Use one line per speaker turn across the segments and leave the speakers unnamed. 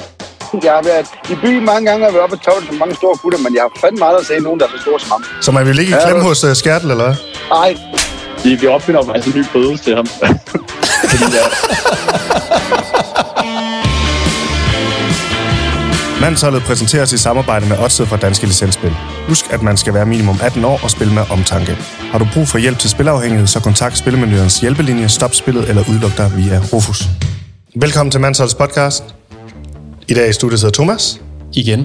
Carsten, jeg har været i byen mange gange, og været oppe og tavlet som mange store gutter, men jeg har fandme aldrig set nogen, der er så store som ham.
Så man vil ikke i
Ja,
klemme
du-
hos uh, Skærtel, eller hvad?
Nej,
Vi, vi opfinder faktisk en ny bøde til ham. Fordi, ja,
Mandsholdet præsenteres i samarbejde med Odset fra Danske Licensspil. Husk, at man skal være minimum 18 år og spille med omtanke. Har du brug for hjælp til spilafhængighed, så kontakt Spilmenuens hjælpelinje, stop spillet eller udluk dig via Rufus. Velkommen til Mandsholdets podcast. I dag i studiet sidder Thomas.
Igen,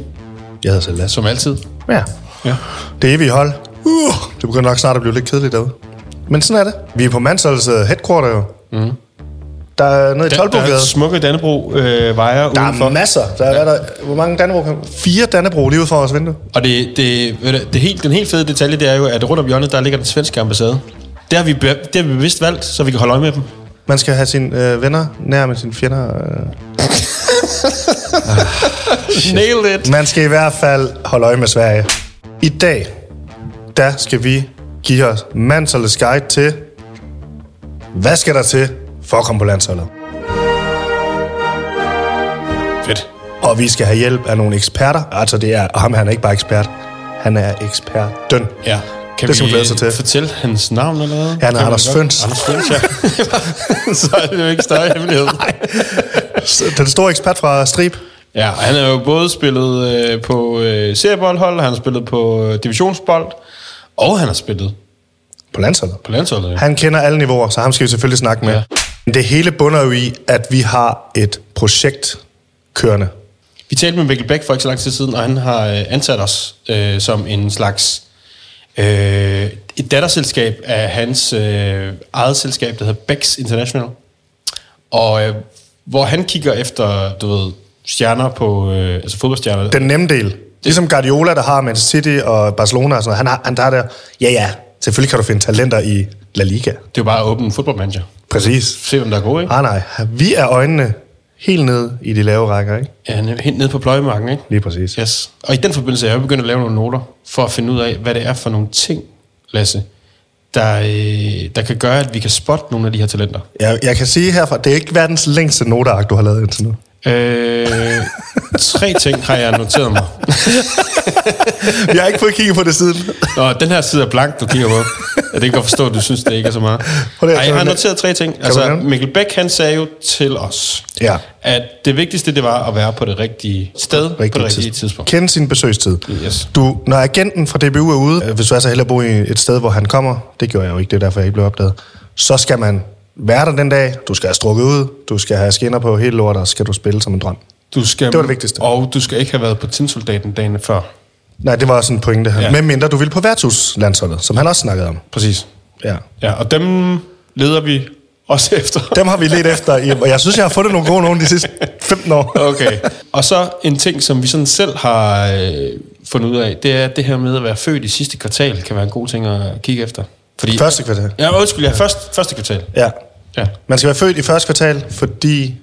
Jeg hedder selv Lasse.
som altid.
Ja.
Ja.
Det evige hold. Uh, det begynder nok snart at blive lidt kedeligt derude. Men sådan er det. Vi er på Mandsholdets øh, headquarter jo. Mm. Der er nede i
Mhm. Der, der er
Tolbogade.
smukke Dannebro øh, vejer
Der
udenfor.
er masser. Der er, hvad er der, hvor mange Dannebro? kan- Fire Dannebro lige ud for vores vindue.
Og det, det, ved du, det helt, den helt fede detalje, det er jo, at rundt om hjørnet, der ligger den svenske ambassade. Det har vi, be- det har vi bevidst valgt, så vi kan holde øje med dem.
Man skal have sine øh, venner nær med sine fjender. Øh.
Nailed it!
Man skal i hvert fald holde øje med Sverige. I dag, der skal vi give os mandsholdets guide til, hvad skal der til for at komme på landsholdet?
Fedt.
Og vi skal have hjælp af nogle eksperter. Altså, det er, og ham han er ikke bare ekspert. Han er ekspert. Døn.
Ja. Kan
Det skal man
vi
glæde sig til.
fortælle hans navn eller hvad?
Han er
Kan vi
Anders
godt-
Føns.
Anders Føns, ja. så er det jo ikke større hemmelighed.
Den store ekspert fra Strib.
Ja, og han har jo både spillet øh, på øh, serieboldhold, han har spillet på øh, divisionsbold, og han har spillet
På landsholdet.
på landsholdet. jo.
Han kender alle niveauer, så ham skal vi selvfølgelig snakke med.
Ja.
Ja. Det hele bunder jo i, at vi har et projekt kørende.
Vi talte med Mikkel Bæk for ikke så lang tid siden, og han har øh, ansat os øh, som en slags øh, et datterselskab af hans øh, eget selskab, der hedder Bæks International. Og øh, hvor han kigger efter, du ved, stjerner på, øh, altså fodboldstjerner.
Den nemme del. Ligesom Guardiola, der har Manchester City og Barcelona og sådan noget. Han, har, han der er der, ja ja, selvfølgelig kan du finde talenter i La Liga.
Det er jo bare at åbne en fodboldmanager.
Præcis.
Se, hvem der er gode, ikke?
Ah nej, vi er øjnene helt nede i de lave rækker, ikke?
Ja, han er helt nede på pløjemarken, ikke?
Lige præcis.
Yes. Og i den forbindelse er jeg jo begyndt at lave nogle noter, for at finde ud af, hvad det er for nogle ting, Lasse, der, øh, der kan gøre, at vi kan spotte nogle af de her talenter.
Jeg, jeg kan sige herfra, det er ikke verdens længste noteark, du har lavet indtil nu.
Øh, tre ting har jeg noteret mig.
Jeg har ikke fået kigget på det siden.
Nå, den her side er blank, du kigger på. Jeg kan godt forstå, at du synes, det ikke er så meget.
Prøv lige
Ej,
at
jeg
tage
har
den.
noteret tre ting. Altså,
nævne den?
Mikkel Bæk, han sagde jo til os,
Ja.
at det vigtigste, det var at være på det rigtige sted, rigtig på det rigtige tidspunkt. tidspunkt.
Kende sin besøgstid.
Yes.
Du, når agenten fra DBU er ude, øh, hvis du er så heldig at bo i et sted, hvor han kommer, det gjorde jeg jo ikke, det er derfor, jeg ikke blev opdaget, så skal man være der den dag, du skal have strukket ud, du skal have skinner på hele lortet, og så skal du spille som en drøm.
Du skal,
Det var det vigtigste.
Og du skal ikke have været på tinsoldaten dagen før.
Nej, det var også en pointe her. Ja.
Ja.
Med mindre du vil på værtshuslandsholdet, som han også snakkede om.
Præcis.
Ja.
Ja, og dem leder vi også efter.
Dem har vi let efter, i- og jeg synes, jeg har fundet nogle gode nogen de sidste 15 år.
Okay. Og så en ting, som vi sådan selv har øh, fundet ud af, det er at det her med at være født i sidste kvartal, kan være en god ting at kigge efter. Fordi,
Første kvartal.
Ja, undskyld, ja, først, første kvartal.
Ja.
Ja.
Man skal være født i første kvartal, fordi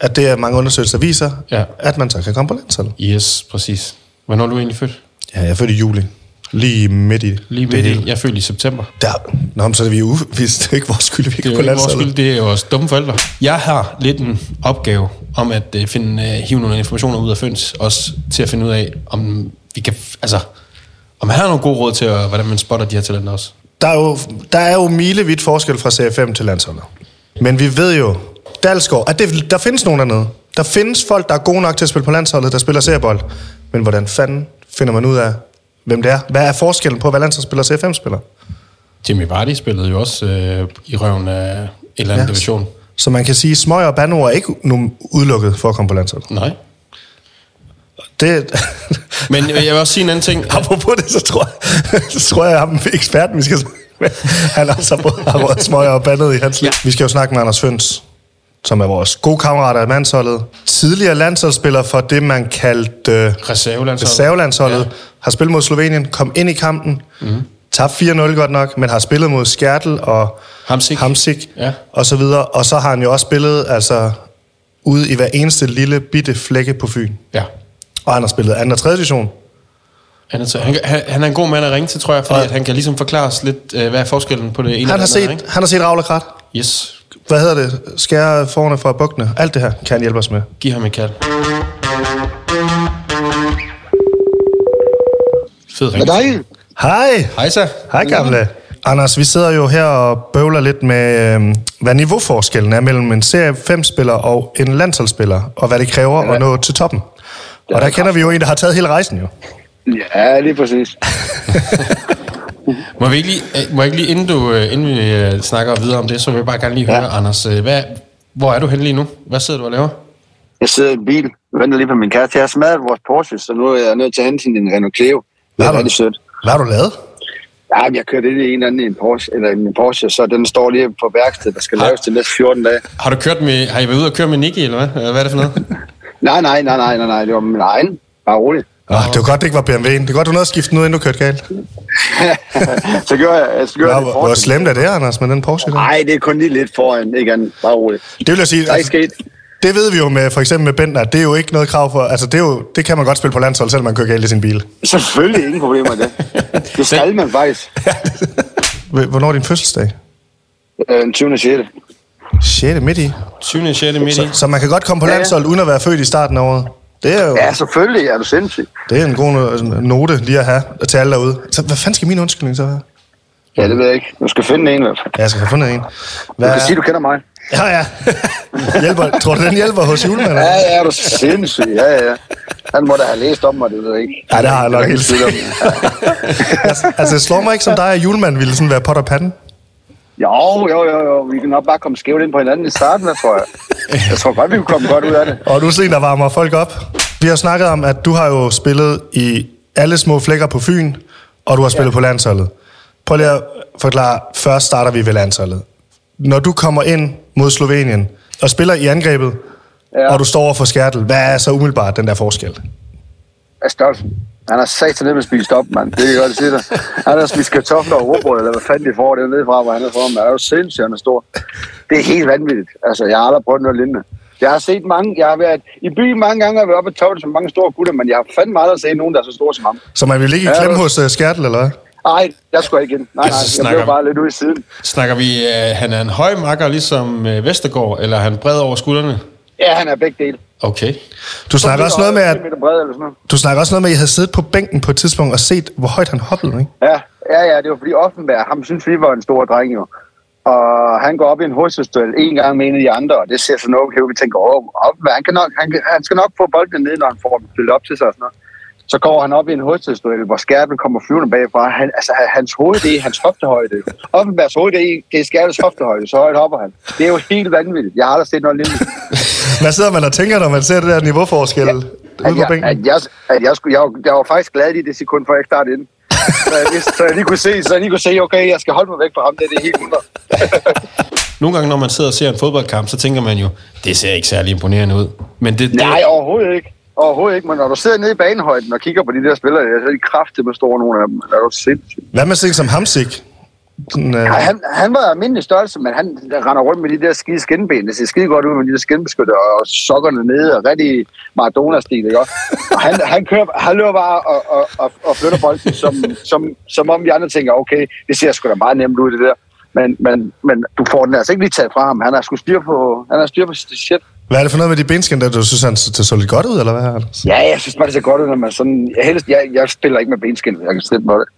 at det er mange undersøgelser, der viser, ja.
Ja.
at man så kan komme på landsholdet.
Yes, præcis. Hvornår er du egentlig født?
Ja, jeg er født i juli. Lige midt i
Lige midt i. Jeg er født i september.
Der. Nå, men så er det vi uvist. Det er ikke vores skyld, at vi
Det
ikke
er jo
på
ikke vores skyld,
landsholdet.
det er jo vores dumme forældre. Jeg har lidt en opgave om at øh, finde, øh, hive nogle informationer ud af Føns, også til at finde ud af, om vi kan, f- altså, om han har nogle gode råd til, øh, hvordan man spotter de her talenter også.
Der er jo, der er jo milevidt forskel fra CFM til landsholdet. Men vi ved jo, Dalsgaard, at det, der findes nogen dernede. Der findes folk, der er gode nok til at spille på landsholdet, der spiller seriebold. Men hvordan fanden finder man ud af, hvem det er? Hvad er forskellen på, hvad landsholdsspiller og CFM-spiller?
Jimmy Vardy spillede jo også øh, i røven af en
Ja.
eller anden ja. division.
Så man kan sige, at smøger og banord er ikke nu udelukket for at komme på landsholdet.
Nej.
Det,
Men øh, jeg vil også sige en anden ting.
Apropos det, så tror jeg, så tror jeg, at ham eksperten, vi skal snakke med, han også har både har røget smøger og bandet i hans liv. Ja. Vi skal jo snakke med Anders Føns, som er vores gode kammerat af landsholdet. Tidligere landsholdsspiller for det, man kaldte øh,
Reservelandsholdet.
reservelandsholdet. Ja.
Ja.
Har spillet mod Slovenien, kom ind i kampen, mm. tabte 4-0 godt nok, men har spillet mod Skjertel og
Hamsik.
Hamsik
Ja.
og så videre. Og så har han jo også spillet altså, ude i hver eneste lille bitte flække på Fyn.
Ja.
Og han har spillet 2. og 3. division.
Han er, til- han, kan- han, han er en god mand at ringe til, tror jeg, fordi
Ja.
at han kan ligesom forklare os lidt, øh, hvad er forskellen på det ene
Han har
og det andet.
set, han har set Ravlekrat.
ikke? Yes.
hvad hedder det, skære forne fra bukkene, alt det her kan han hjælpe os med.
Giv ham et kald. Fed
Med
ring.
dig?
Hej.
Hej så.
Hej gamle. Anders, vi sidder jo her og bøvler lidt med, øh, hvad niveauforskellen er mellem en serie 5-spiller og en landsholdsspiller, og hvad det kræver ja. at nå til toppen. Og der kender vi jo en, der har taget hele rejsen jo.
Ja, lige præcis.
Må, vi ikke lige, øh, må jeg ikke lige, inden, du, øh, inden vi øh, snakker videre om det, så vil jeg bare gerne lige høre, Anders, øh, hvad, hvor er du henne lige nu? Hvad sidder du og laver?
Jeg sidder i en bil, venter lige på min kæreste. Jeg har smadret vores Porsche, så nu er jeg nødt til at hente hende en Renault Cleo. Det
Hvad
er
har du-
rigtig sødt.
Hvad har du lavet?
Ja, men jeg kørte ind i en eller anden i en Porsche, eller i en Porsche, så den står lige på værkstedet, der skal
Har-
laves til næste 14 dage.
Har du kørt med, har I været ude og køre med Nicky, eller hvad? Eller Hvad er det for noget?
Nej, nej, nej, nej, nej, nej, det var min egen. Bare roligt.
Oh, det var godt, det ikke var BMW'en. Det er godt, du nåede at skifte den ud, inden du kørte galt.
så gør jeg, så gør
Nå,
jeg det
hvor, hvor
Porsche.
slemt er det, Anders, med den Porsche? Der?
Nej, det er kun lige lidt foran, ikke andet. Bare roligt.
Det vil jeg sige,
Der er ikke
altså,
sket.
det ved vi jo med, for eksempel med Bentner, det er jo ikke noget krav for, altså det, er jo, det kan man godt spille på landshold, selvom man kører galt i sin bil.
Selvfølgelig ingen problemer med det. Det skal man faktisk.
Hvornår er din fødselsdag?
Øh, Den 20. 6.
6. midt i.
20. 6. midt i.
Så, så man kan godt komme på
Ja, ja.
landshold, uden at være født i starten af året. Det er jo...
Ja, selvfølgelig er du sindssyg.
Det er en god no- note lige at have til alle derude. Så hvad fanden skal min undskyldning så være?
Ja, det ved jeg ikke. Du skal finde en i hvert fald.
Ja, jeg skal have fundet en.
Du
Hvad?
kan sige, du kender mig.
Ja, ja. hjælper. Tror du, den hjælper hos julemanden?
Ja, ja, er du sindssyg. Ja, ja, ja. Han må da have læst om mig, det ved jeg ikke.
Ja, det har jeg nok
er
helt
der ingen
sikkert.
tvivl om.
altså, altså, det slår mig ikke som dig, at julemanden ville sådan være pot og panden.
Jo, jo, jo, jo. Vi kan nok bare komme skævt ind på hinanden i starten, jeg tror jeg. Jeg tror godt, vi kunne komme godt ud af det.
Og du er sådan en, der varmer folk op. Vi har snakket om, at du har jo spillet i alle små flækker på Fyn, og du har spillet ja. på landsholdet. Prøv lige at forklare, først starter vi ved landsholdet. Når du kommer ind mod Slovenien og spiller i angrebet, ja.
Ja.
og du står over for Skærtel, hvad er så umiddelbart den der forskel?
af størrelsen. Han har sat sig ned med spist op, mand. Det kan jeg godt sige dig. Han har spist kartofler og råbrød, eller hvad fanden de får det nede fra, hvor han er fra. Men han er jo sindssygt, han er stor. Det er helt vanvittigt. Altså, jeg har aldrig prøvet noget lignende. Jeg har set mange, jeg har været i byen mange gange, og været oppe og tålet som mange store gutter, men jeg har fandme aldrig set nogen, der er så store som ham.
Så man vil ikke i
Ja,
klemme
du-
hos uh, Skærtel, eller hvad?
Ej, jeg skulle ikke ind. Nej, nej,
Så
jeg
snakker
blev
vi.
bare lidt ude i siden.
Snakker vi, øh, han er en høj makker, ligesom øh, Vestergaard, eller er han bred over skuldrene?
Ja, han er begge dele.
Okay.
Du snakker, også noget med, at,
Meter bred eller sådan noget.
du snakker også noget med, at I havde siddet på bænken på et tidspunkt og set, hvor højt han hoppede, ikke?
Ja, ja, ja, det var fordi Offenberg, ham synes vi var en stor dreng jo. Og han går op i en hovedstød en gang med en af de andre, og det ser sådan okay ud. Vi tænker, åh, Offenberg, han, kan nok, han, kan- han skal nok få bolden ned, når han får den spillet op til sig og sådan noget. Så går han op i en hovedstød, hvor skærpen kommer flyvende bagfra. Han, altså, han- hans hoved, det er hans hoftehøjde. jo. Offenbergs hoved, det er, det er skærpens hoftehøjde. Så højt hopper han. Det er jo helt vanvittigt. Jeg har aldrig set noget lignende.
Hvad sidder man og tænker, når man ser det der niveauforskel ja. ude
At
på
jeg,
bænken?
at jeg, at jeg, skulle, jeg, var- jeg var faktisk glad i det sekund, før jeg ikke startede ind. Så jeg, vidste- så jeg lige kunne se, så jeg lige kunne se, okay, jeg skal holde mig væk fra ham, det er det helt 100.
Nogle gange, når man sidder og ser en fodboldkamp, så tænker man jo, det ser ikke særlig imponerende ud. Men det, det
Nej, overhovedet ikke. Overhovedet ikke, men når du sidder nede i banehøjden og kigger på de der spillere, så er de kraftigt med store nogle af dem. Er du sindssygt?
Hvad med sådan en som Hamsik? Den, øh,
Ja, han, han var almindelig størrelse, men han render rundt med de der skide skinben. Det ser skide godt ud med de der skinbeskytter og sokkerne nede og rigtig Maradona-stil, ikke også? Og han, han, kører, han løber bare og, og, og, og flytter bolden, som, som, som om vi andre tænker, okay, det ser sgu da meget nemt ud, det der. Men, men, men du får den altså ikke lige taget fra ham. Han har sgu styr på, han har styr på sit shit.
hvad er det for noget med de benskin, der du synes, han så, så lidt godt ud, eller hvad? Anders?
Ja, jeg synes bare, det ser godt ud, når man sådan... Jeg, helst, jeg, jeg spiller ikke med benskin, jeg kan slippe på det.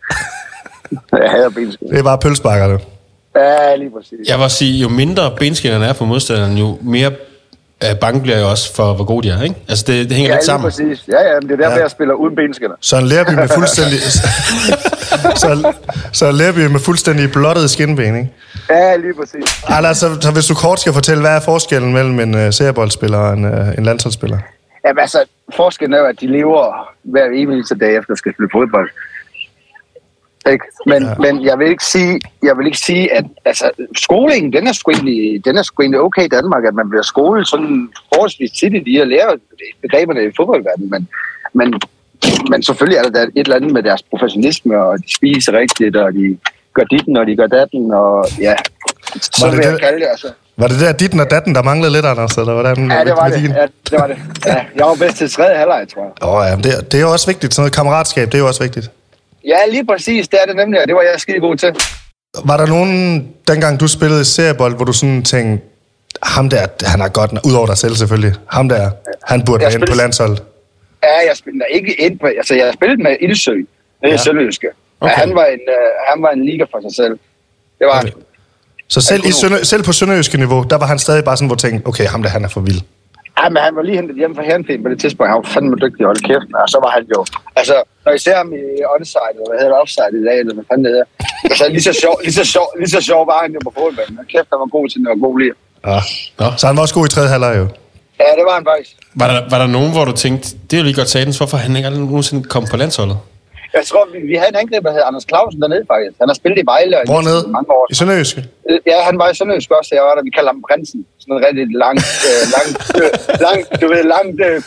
jeg hader benskin.
Det er bare pølsebakkerne.
Ja, lige præcis. Ja.
Jeg vil også sige, jo mindre benskinnerne er for modstanderen, jo mere øh, bange bliver jeg også for, hvor god de er. Ikke? Altså, det, det hænger
Ja,
lidt
lige
sammen.
præcis. Ja, ja, men det er derfor,
Ja.
ja. jeg spiller uden benskinner.
Så en lærby med fuldstændig... så, så en lærby med fuldstændig blottet skinben, ikke?
Ja, lige præcis.
Anders, så, så hvis du kort skal fortælle, hvad er forskellen mellem en øh, serieboldspiller og en, øh, en landsholdsspiller?
Jamen altså, forskellen er jo, at de lever hver evig eneste dag efter at skal spille fodbold. Ikke? Men, ja. men jeg vil ikke sige, jeg vil ikke sige at altså, skolingen, den er, sgu egentlig, den er sgu egentlig okay i Danmark, at man bliver skolet sådan forholdsvis tidligt i at lære begreberne i fodboldverdenen, men, men, men selvfølgelig er der da et eller andet med deres professionisme, og de spiser rigtigt, og de gør ditten, og de gør datten, og ja, så
Var det
vil jeg
det-
kalde det altså.
Var det der dit og datten, der manglede lidt, Anders? Eller hvordan,
Ja, det var det.
din?
Ja, det var det. Ja, jeg var bedst til tredje halvleg, tror jeg.
Åh, ja, men det, det er jo også vigtigt. Sådan noget kammeratskab, det er jo også vigtigt.
Ja, lige præcis. Det er det nemlig, og det var jeg skide god til.
Var der nogen, dengang du spillede seriebold, hvor du sådan tænkte, ham der, han er godt, nok- udover dig selv selvfølgelig, ham der, han burde
Jeg
være inde på
spillede-
landsholdet.
Ja, jeg spillede ikke ind på, altså jeg spillede med Ildsø, det er
Ja.
ja. sønderjyske. Men
Okay.
han var, en, øh, han var en liga for sig selv. Det var han.
Så selv, i
Økonom.
sønder, selv på sønderjyske niveau, der var han stadig bare sådan, hvor jeg tænkte, okay, ham der, han er for vild.
Ja, men han var lige hentet hjem fra Herrenfien på det tidspunkt. Han var fandme dygtig, hold kæft. Og så var han jo... Altså, når I ser ham i onside, eller hvad hedder det, offside i dag, eller hvad fanden det hedder. Altså, lige så sjov, lige så sjov, lige så sjov var han jo på fodboldbanen. Og kæft, han var god til den, og god lige.
Ja.
Nå.
Så han var også god i tredje halvleg jo.
Ja, det var han faktisk.
Var der, var der nogen, hvor du tænkte, det er jo lige godt satans, hvorfor han ikke aldrig nogensinde kom på landsholdet?
Jeg tror, vi, vi havde en angriber, der hed Anders Clausen dernede faktisk. Han har spillet i Vejle og i
Hvornede?
Næstved i mange år.
I sønderjyske?
Øh, Ja, han var i Sønderjysk også, da jeg var der. Vi kalder ham Prinsen. Sådan en rigtig lang, øh, lang, øh, lang, du ved, langt øh,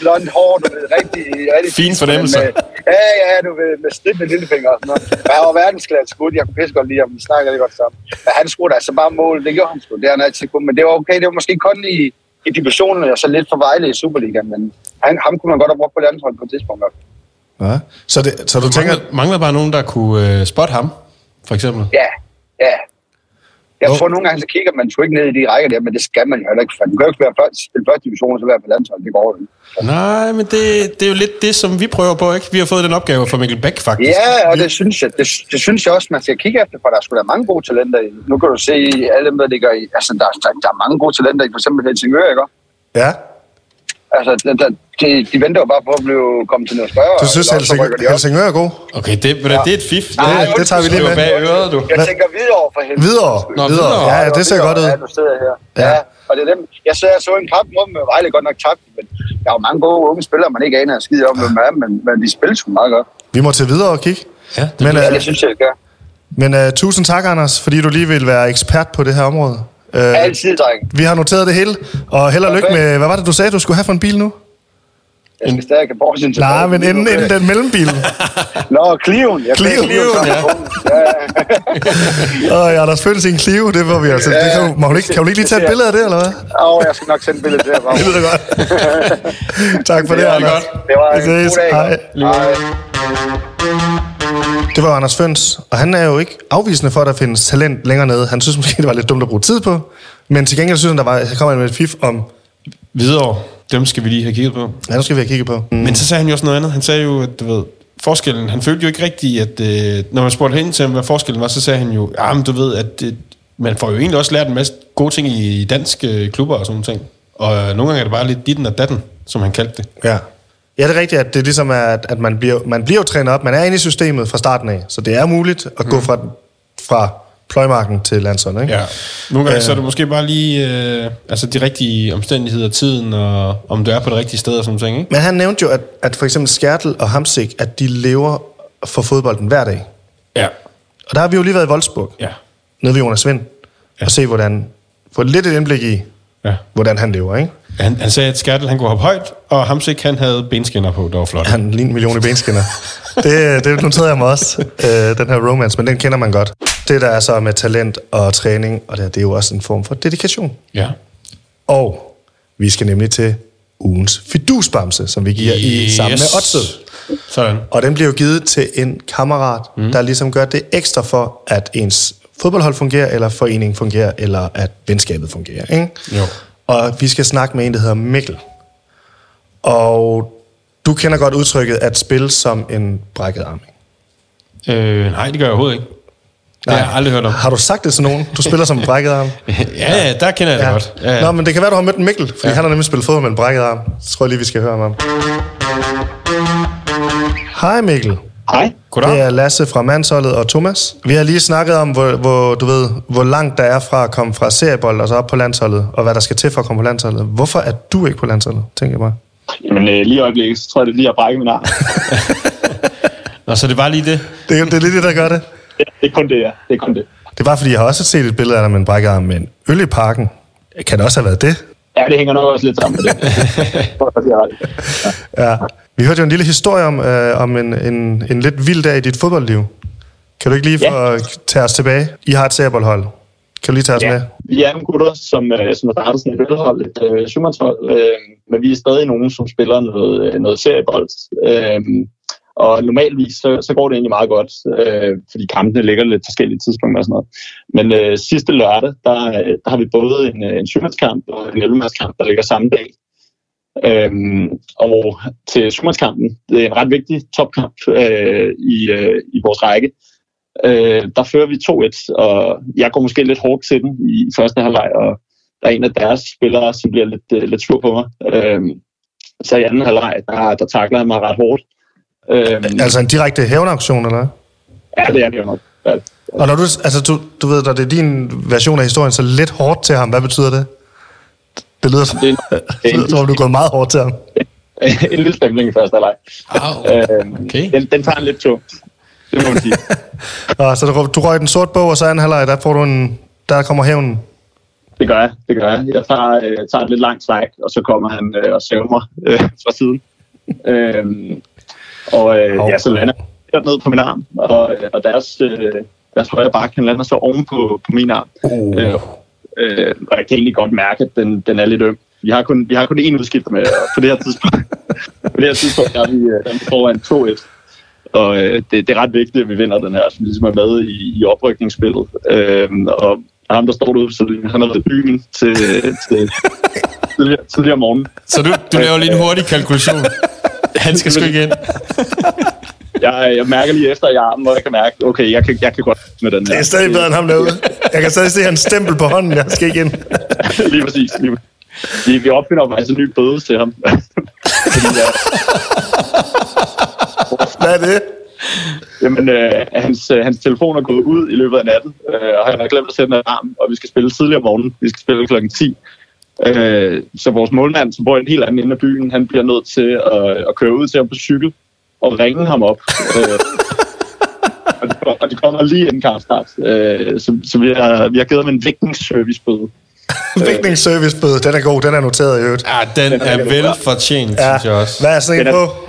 blond hår, du ved, rigtig... rigtig
Fin fornemmelse.
Med, ja, ja, du ved, med stimme lillefinger og sådan noget. Men han var verdensklasse skud, jeg kunne pisse godt lide ham, vi snakker lige godt sammen. Men han skulle altså bare mål, det gjorde han sgu, det har han altid kunne. Men det var okay, det var måske kun i, i divisionen, og så lidt for Vejle i Superligaen, men han, ham kunne man godt have brugt på landsholdet på et tidspunkt.
Ja. Så, det, så du tænker,
Mangler, mangler bare nogen, der kunne øh, spotte ham, for eksempel?
Ja, ja. Jeg
Hvor-
tror, nogle gange, så kigger man sgu ikke ned i de rækker der, men det skal man jo heller ikke, for den kan jo ikke være først, spille første division, og så være på landsholdet. Det går jo ikke.
Nej, men det, det er jo lidt det, som vi prøver på, ikke? Vi har fået den opgave fra Mikkel Bæk, faktisk.
Ja, og det synes jeg, det, det synes jeg også, man skal kigge efter, for der skulle være mange gode talenter i. Nu kan du se, alle dem, der ligger i, altså der, der, der er mange gode talenter i, for eksempel Helsingør, ikke?
ja,
Altså, der, der, de, de venter jo bare på at blive kommet til noget større.
du synes,
eller også så rykker de
Helsingør,
op.
Helsingør er god.
Okay, det, ja. det er et fif.
Nej,
det,
det tager vi lige
skriver
med.
bag øret, du.
Jeg tænker videre for helvede.
Videre,
Nå,
videre.
Hvidovre.
Ja, ja, det ser godt ud.
Ja, du sidder her. Ja.
Ja.
ja. og det er dem. Jeg, så, jeg så en kamp mod med Vejle, godt nok tabt, men der er jo mange gode unge spillere, man ikke aner at skide om, hvem er, men, men de spiller sgu meget godt.
Vi må til videre og kigge.
Ja, det
men
Ja,
øh,
det synes jeg, det gør.
men øh, tusind tak, Anders, fordi du lige vil være ekspert på det her område. Øh,
Altid, dreng.
vi har noteret det hele, og held og lykke
Perfekt.
med... Hvad var det, du sagde, du skulle have for en bil nu?
Jeg skal stadig have Borsen tilbage.
Nej, men inden, inden den mellembil.
Nå, Clio'en. Jeg fik
Clio'en,
Clio'en,
ja.
ja.
Og jeg har da selvfølgelig sin klive, det var vi altså. Det kan, jo- må hun ikke, kan hun ikke lige tage et billede af det, eller hvad?
Og jeg skal nok sende billedet til jer.
Det lyder godt. tak for det,
Det er
Anders.
godt.
Det var
Vi
en god
ses.
dag.
Hej.
Hej.
Det var Anders Føns, og han er jo ikke afvisende for, at der findes talent længere nede. Han synes måske, det var lidt dumt at bruge tid på, men til gengæld synes han, der var, så kom han med et fif om,
Videre. Dem skal vi lige have kigget på.
ja, nu skal vi have kigget på. Mm.
Men så sagde han jo også noget andet. Han sagde jo, at du ved, forskellen... Han følte jo ikke rigtigt, at... Øh, når man spurgte hen til ham, hvad forskellen var, så sagde han jo, ja, men du ved, at øh, man får jo egentlig også lært en masse gode ting i danske øh, klubber og sådan nogle ting. Og øh, nogle gange er det bare lidt ditten og datten, som han kaldte det.
Ja. ja, det er rigtigt, at det er ligesom, er, at, at man, bliver, man bliver jo trænet op. Man er inde i systemet fra starten af, så det er muligt at gå fra, fra pløjmarken til landsholdet. Ikke?
Mm. Ja. Nogle gange øh, så er det måske bare lige øh, altså de rigtige omstændigheder, tiden og om du er på det rigtige sted og sådan nogle ting, ikke?
Men han nævnte jo, at, at for eksempel Skærtel og Hamsik, at de lever for fodbolden hver dag.
Ja.
Og der har vi jo lige været i Wolfsburg,
Ja.
nede ved Jonas Vind, ja. og se, hvordan, få lidt et indblik i,
Ja.
hvordan han lever. Ikke?
Han, han sagde, at Skærtel han kunne hoppe højt, og Hamsik han havde benskinner på, der var flot.
Han ligner en million i benskinner. det, det noterede jeg mig også, øh, den her romance, men den kender man godt. Det, der er så med talent og træning, og det, det er jo også en form for dedikation.
Ja.
Og vi skal nemlig til ugens fidusbamse, som vi giver yes. i sammen med Otse.
Sådan.
Og den bliver jo givet til en kammerat, mm. der ligesom gør det ekstra for, at ens fodboldhold fungerer, eller foreningen fungerer, eller at venskabet fungerer. Ikke?
Jo.
Og vi skal snakke med en, der hedder Mikkel. Og du kender godt udtrykket at spille som en brækket arm. ikke?
Øh, nej, det gør jeg overhovedet ikke. Det har jeg aldrig hørt om.
Har du sagt det til nogen? Du spiller som en brækket arm?
Ja, ja, der kender jeg det godt. Ja,
Nå,
ja.
men det kan være, du har mødt Mikkel, fordi ja. han har nemlig spillet fodbold med en brækket arm. Så tror jeg lige, vi skal høre om ham. Hej Mikkel.
Hej.
Det
Goddag.
er Lasse fra Mandsholdet og Thomas. Vi har lige snakket om, hvor, hvor, du ved, hvor langt der er fra at komme fra seriebold og så op på landsholdet, og hvad der skal til for at komme på landsholdet. Hvorfor er du ikke på landsholdet, tænker jeg bare.
Jamen, øh, lige i øjeblikket, så tror jeg, det er lige at brække min arm.
Nå, så det var lige det.
Det, er- det er lidt det, der gør det.
Ja, det er kun det, ja. Det er kun det.
Det er bare fordi, jeg har også set et billede af dig med en brækket arm med en øl i parken. Kan det også have været det?
Ja, det hænger nok også lidt sammen med det. Jeg tror, det er ret.
Ja. Vi hørte jo en lille historie om, øh, om en, en, en lidt vild dag i dit fodboldliv. Kan du ikke lige
Ja.
få, tage os tilbage? I har et serieboldhold. Kan du lige tage os ja. med?
Ja. Vi er nogle gutter, som, øh, som har startet sådan et ølhold, et øh, syvmandshold, øh, men vi er stadig nogen, som spiller noget, øh, noget seriebold. Øh, og normalvis, så, så går det egentlig meget godt, øh, fordi kampene ligger lidt forskellige tidspunkter og sådan noget. Men øh, sidste lørdag, der, øh, der har vi både en, øh, en syvmandskamp og en elvemandskamp, der ligger samme dag. Øhm, og til Supermandskampen, det er en ret vigtig topkamp øh, i, øh, i vores række, øh, der fører vi 2-1, og jeg går måske lidt hårdt til den i første halvleg, og der er en af deres spillere, som bliver lidt, øh, lidt sur på mig. Øhm, så i anden halvleg, der, der takler han mig ret hårdt. Øhm,
Altså en direkte hævnauktion, eller hvad?
ja, det er det jo nok. Ja.
Og når du, altså, du, du ved, når det er din version af historien, så lidt hårdt til ham, hvad betyder det? Det lyder, som,
Det er
det lyder som om, du er gået meget hårdt til ham.
en, en lille stemning i første halvleg. Øh,
Au, Ah, okay.
Den, den tager en lidt tungt. Det må man sige.
Og så du, du røg den sorte bog, og så anden halvleg, der får du en... Der kommer hævnen.
Det gør jeg, det gør jeg. Jeg tager, øh, tager et lidt langt træk, og så kommer han øh, og sæver mig øh, fra siden. Øhm, og øh,
Hov.
ja, så lander jeg ned på min arm, og, øh, og deres, øh, deres højre bak, han lander så oven på, på min arm.
Uh.
Øh, øh, og jeg kan egentlig godt mærke, at den, den er lidt øm. Vi har kun, vi har kun én udskift med, og på det her tidspunkt, på det her tidspunkt der er vi, øh, der er vi foran 2-1. Og øh, det, det er ret vigtigt, at vi vinder den her, som ligesom er med i, i oprykningsspillet. Øh, og ham, der står derude, så han har været i byen til, øh, til tidligere, tidligere om morgenen.
Så du, du laver lige en hurtig kalkulation. Han skal sgu ikke ind.
Jeg, jeg mærker lige efter i armen, hvor jeg kan mærke, okay, jeg kan, jeg kan godt med den her.
Det er stadig bedre end ham derude. Jeg kan stadig se hans stempel på hånden, jeg skal ikke ind.
lige præcis. Lige, præcis. vi, vi opfinder jo faktisk en ny bøde til ham. Fordi, ja,
Hvad er det?
jamen, øh, hans, øh, hans telefon er gået ud i løbet af natten, øh, og han har glemt at sætte en alarm, og vi skal spille tidligere om morgenen. Vi skal spille klokken 10. Øh, så vores målmand, som bor i en helt anden ende af byen, han bliver nødt til at, at køre ud til ham på cykel og ringe ham op. Øh, og det kom- og det kommer lige inden kampstart. Øh, så, så vi har, vi har givet ham en vækningsservicebøde.
Vækningsservicebøde, den er god, den er noteret i øvrigt.
Ja, den er velfortjent,
Ja,
synes jeg også.
hvad er sådan en
Den
på?
er-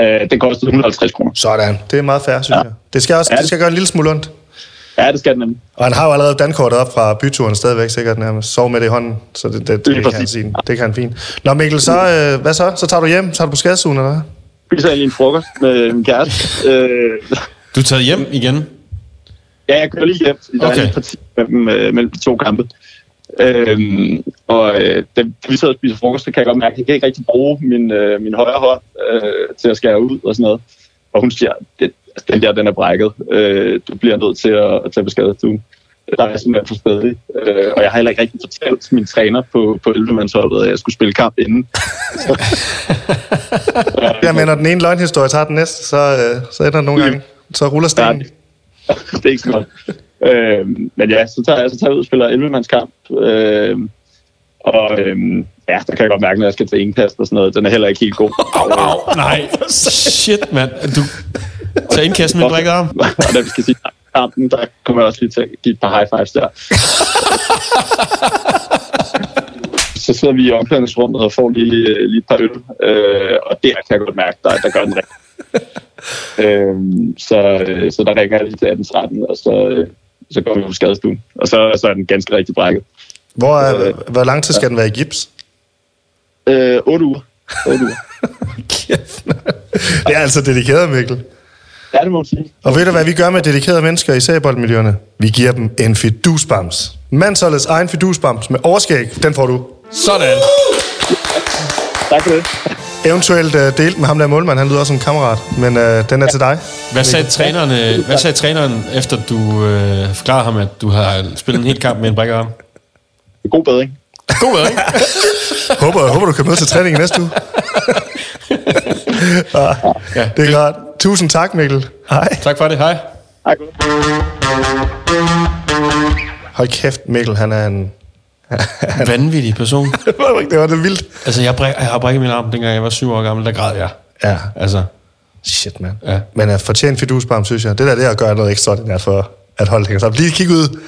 Øh, den kostede 150 kroner.
Sådan. Det er meget fair, synes jeg. Det skal, også, det skal gøre en lille smule ondt.
Ja, det skal den nemlig.
Og han har jo allerede dankortet op fra byturen stadigvæk sikkert nærmest. Sov med det i hånden, så det, det, det,
Lige
det kan han
præcis.
sige. Det kan han fint. Nå Mikkel, så, øh, hvad så? Så tager du hjem? Så tager du på skadesugen, eller hvad?
spiser egentlig en frokost med min kæreste. Øh,
Du er taget hjem igen.
ja, jeg kører lige hjem, fordi der
Okay.
okay. er lige parti mellem, øh, mellem de to kampe. Øhm, og øh, da vi sidder og spiser frokost, så kan jeg godt mærke, at jeg kan ikke rigtig bruge min, øh, min højre hånd øh, til at skære ud og sådan noget. Og hun siger, det, altså, den der, den er brækket. Øh, du bliver nødt til at, at tage beskadet du. Der er jeg simpelthen for spædig. Øh, og jeg har heller ikke rigtig fortalt min træner på, på 11-mandsholdet, at jeg skulle spille kamp inden.
Jeg mener, den ene løgnhistorie tager den næste, så, øh, så ender den nogle gange. Så ruller stenen.
det er ikke så godt. Øh, men ja, så tager, jeg, så tager jeg ud og spiller 11-mandskamp. Øh, og øh, ja, der kan jeg godt mærke, når jeg skal til indkast og sådan noget. Den er heller ikke helt god.
Au, nej. Shit, mand. Du tager indkasten med brækket arm.
og da vi skal sige tak til kampen, der kommer jeg også lige til at give et par high fives der. så sidder vi i omklædningsrummet og får lige, lige et par øl, øh, og der kan jeg godt mærke, der, der gør den rigtig. Øhm, så, så der ringer jeg lige til 18-13, og så, øh, så går vi på skadestuen. Og så, så er den ganske rigtig brækket.
Hvor, er, hvor lang tid skal den være i gips?
Øh, 8 uger. 8 uger.
Det er altså dedikeret, Mikkel.
Ja, det må man sige.
Og ved du, hvad vi gør med dedikerede mennesker i sabboldmiljøerne? Vi giver dem en fidusbams. Mandsholdets egen fidusbams med overskæg, den får du.
Sådan.
Tak for det.
Eventuelt øh, delt med ham der målmand, han lyder også som en kammerat, men øh, den er til dig.
Hvad sagde, træneren, øh, hvad sagde træneren, efter du øh, forklarede ham, at du har spillet en hel kamp med en brækket arm?
God bedring.
God ved, ikke?
Håber, jeg håber du kan møde til træning i næste uge. ja, det er klart. Tusind tak, Mikkel. Hej.
Tak for det. Hej.
Hej, god.
Hold kæft, Mikkel, han er en...
Vanvittig person.
det var det vildt.
Altså, jeg, bræk, jeg har brækket min arm, dengang jeg var syv år gammel. Der græd jeg.
Ja,
Altså,
shit, mand.
Ja.
Men øh, at fortjene fidusbam, synes jeg, det der, det er at gøre noget ekstraordinært for at holde hænger sammen. Lige kig ud.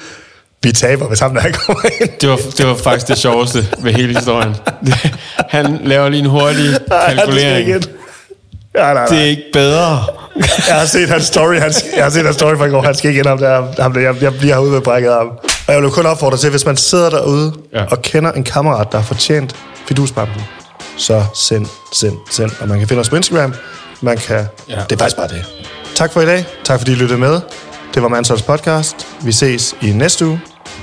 Vi taber, hvis ham der kommer ind.
det var, det var faktisk det sjoveste ved hele historien. Han laver lige en hurtig kalkulering.
Nej, nej, nej.
Det er ikke bedre.
Jeg har set hans story, han, jeg har set hans story fra i går. Han skal ikke ind om der, ham der jeg, jeg bliver herude med brækket arm. Og jeg vil jo kun opfordre til, hvis man sidder derude ja.
Ja.
og kender en kammerat, der har fortjent fidusbampen, så send, send, send. Og man kan finde os på Instagram. Man kan... Ja.
Ja.
Det er faktisk bare det. Tak for i dag. Tak fordi I lyttede med. Det var Mansholds podcast. Vi ses i næste uge.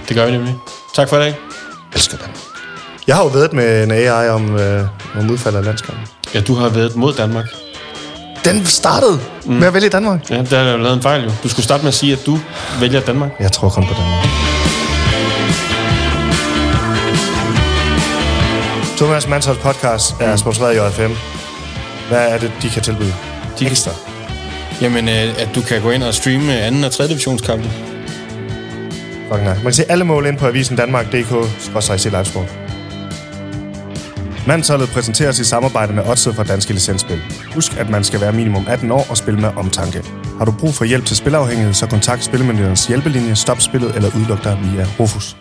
Det gør vi nemlig. Tak for i dag.
Elsker den. Jeg har jo været med en AI om, øh, om udfaldet af landskampen.
Ja, du har været mod Danmark.
Den startede mm. med at vælge Danmark.
Ja, der er jo lavet en fejl jo. Du skulle starte med at sige, at du vælger Danmark.
Jeg tror kun på Danmark. Thomas Mansholds podcast er sponsoreret i JFM. Hvad er det, de kan tilbyde? De kan starte.
Jamen, øh, at du kan gå ind og streame anden og tredje divisionskampe.
Fuck nej. Man kan se alle mål ind på avisen danmark.dk i livesport. Mandsholdet præsenteres i samarbejde med Odset fra Danske Licensspil. Husk, at man skal være minimum 18 år og spille med omtanke. Har du brug for hjælp til spilafhængighed, så kontakt Spillemyndighedens hjælpelinje, stop spillet eller udluk dig via Rufus.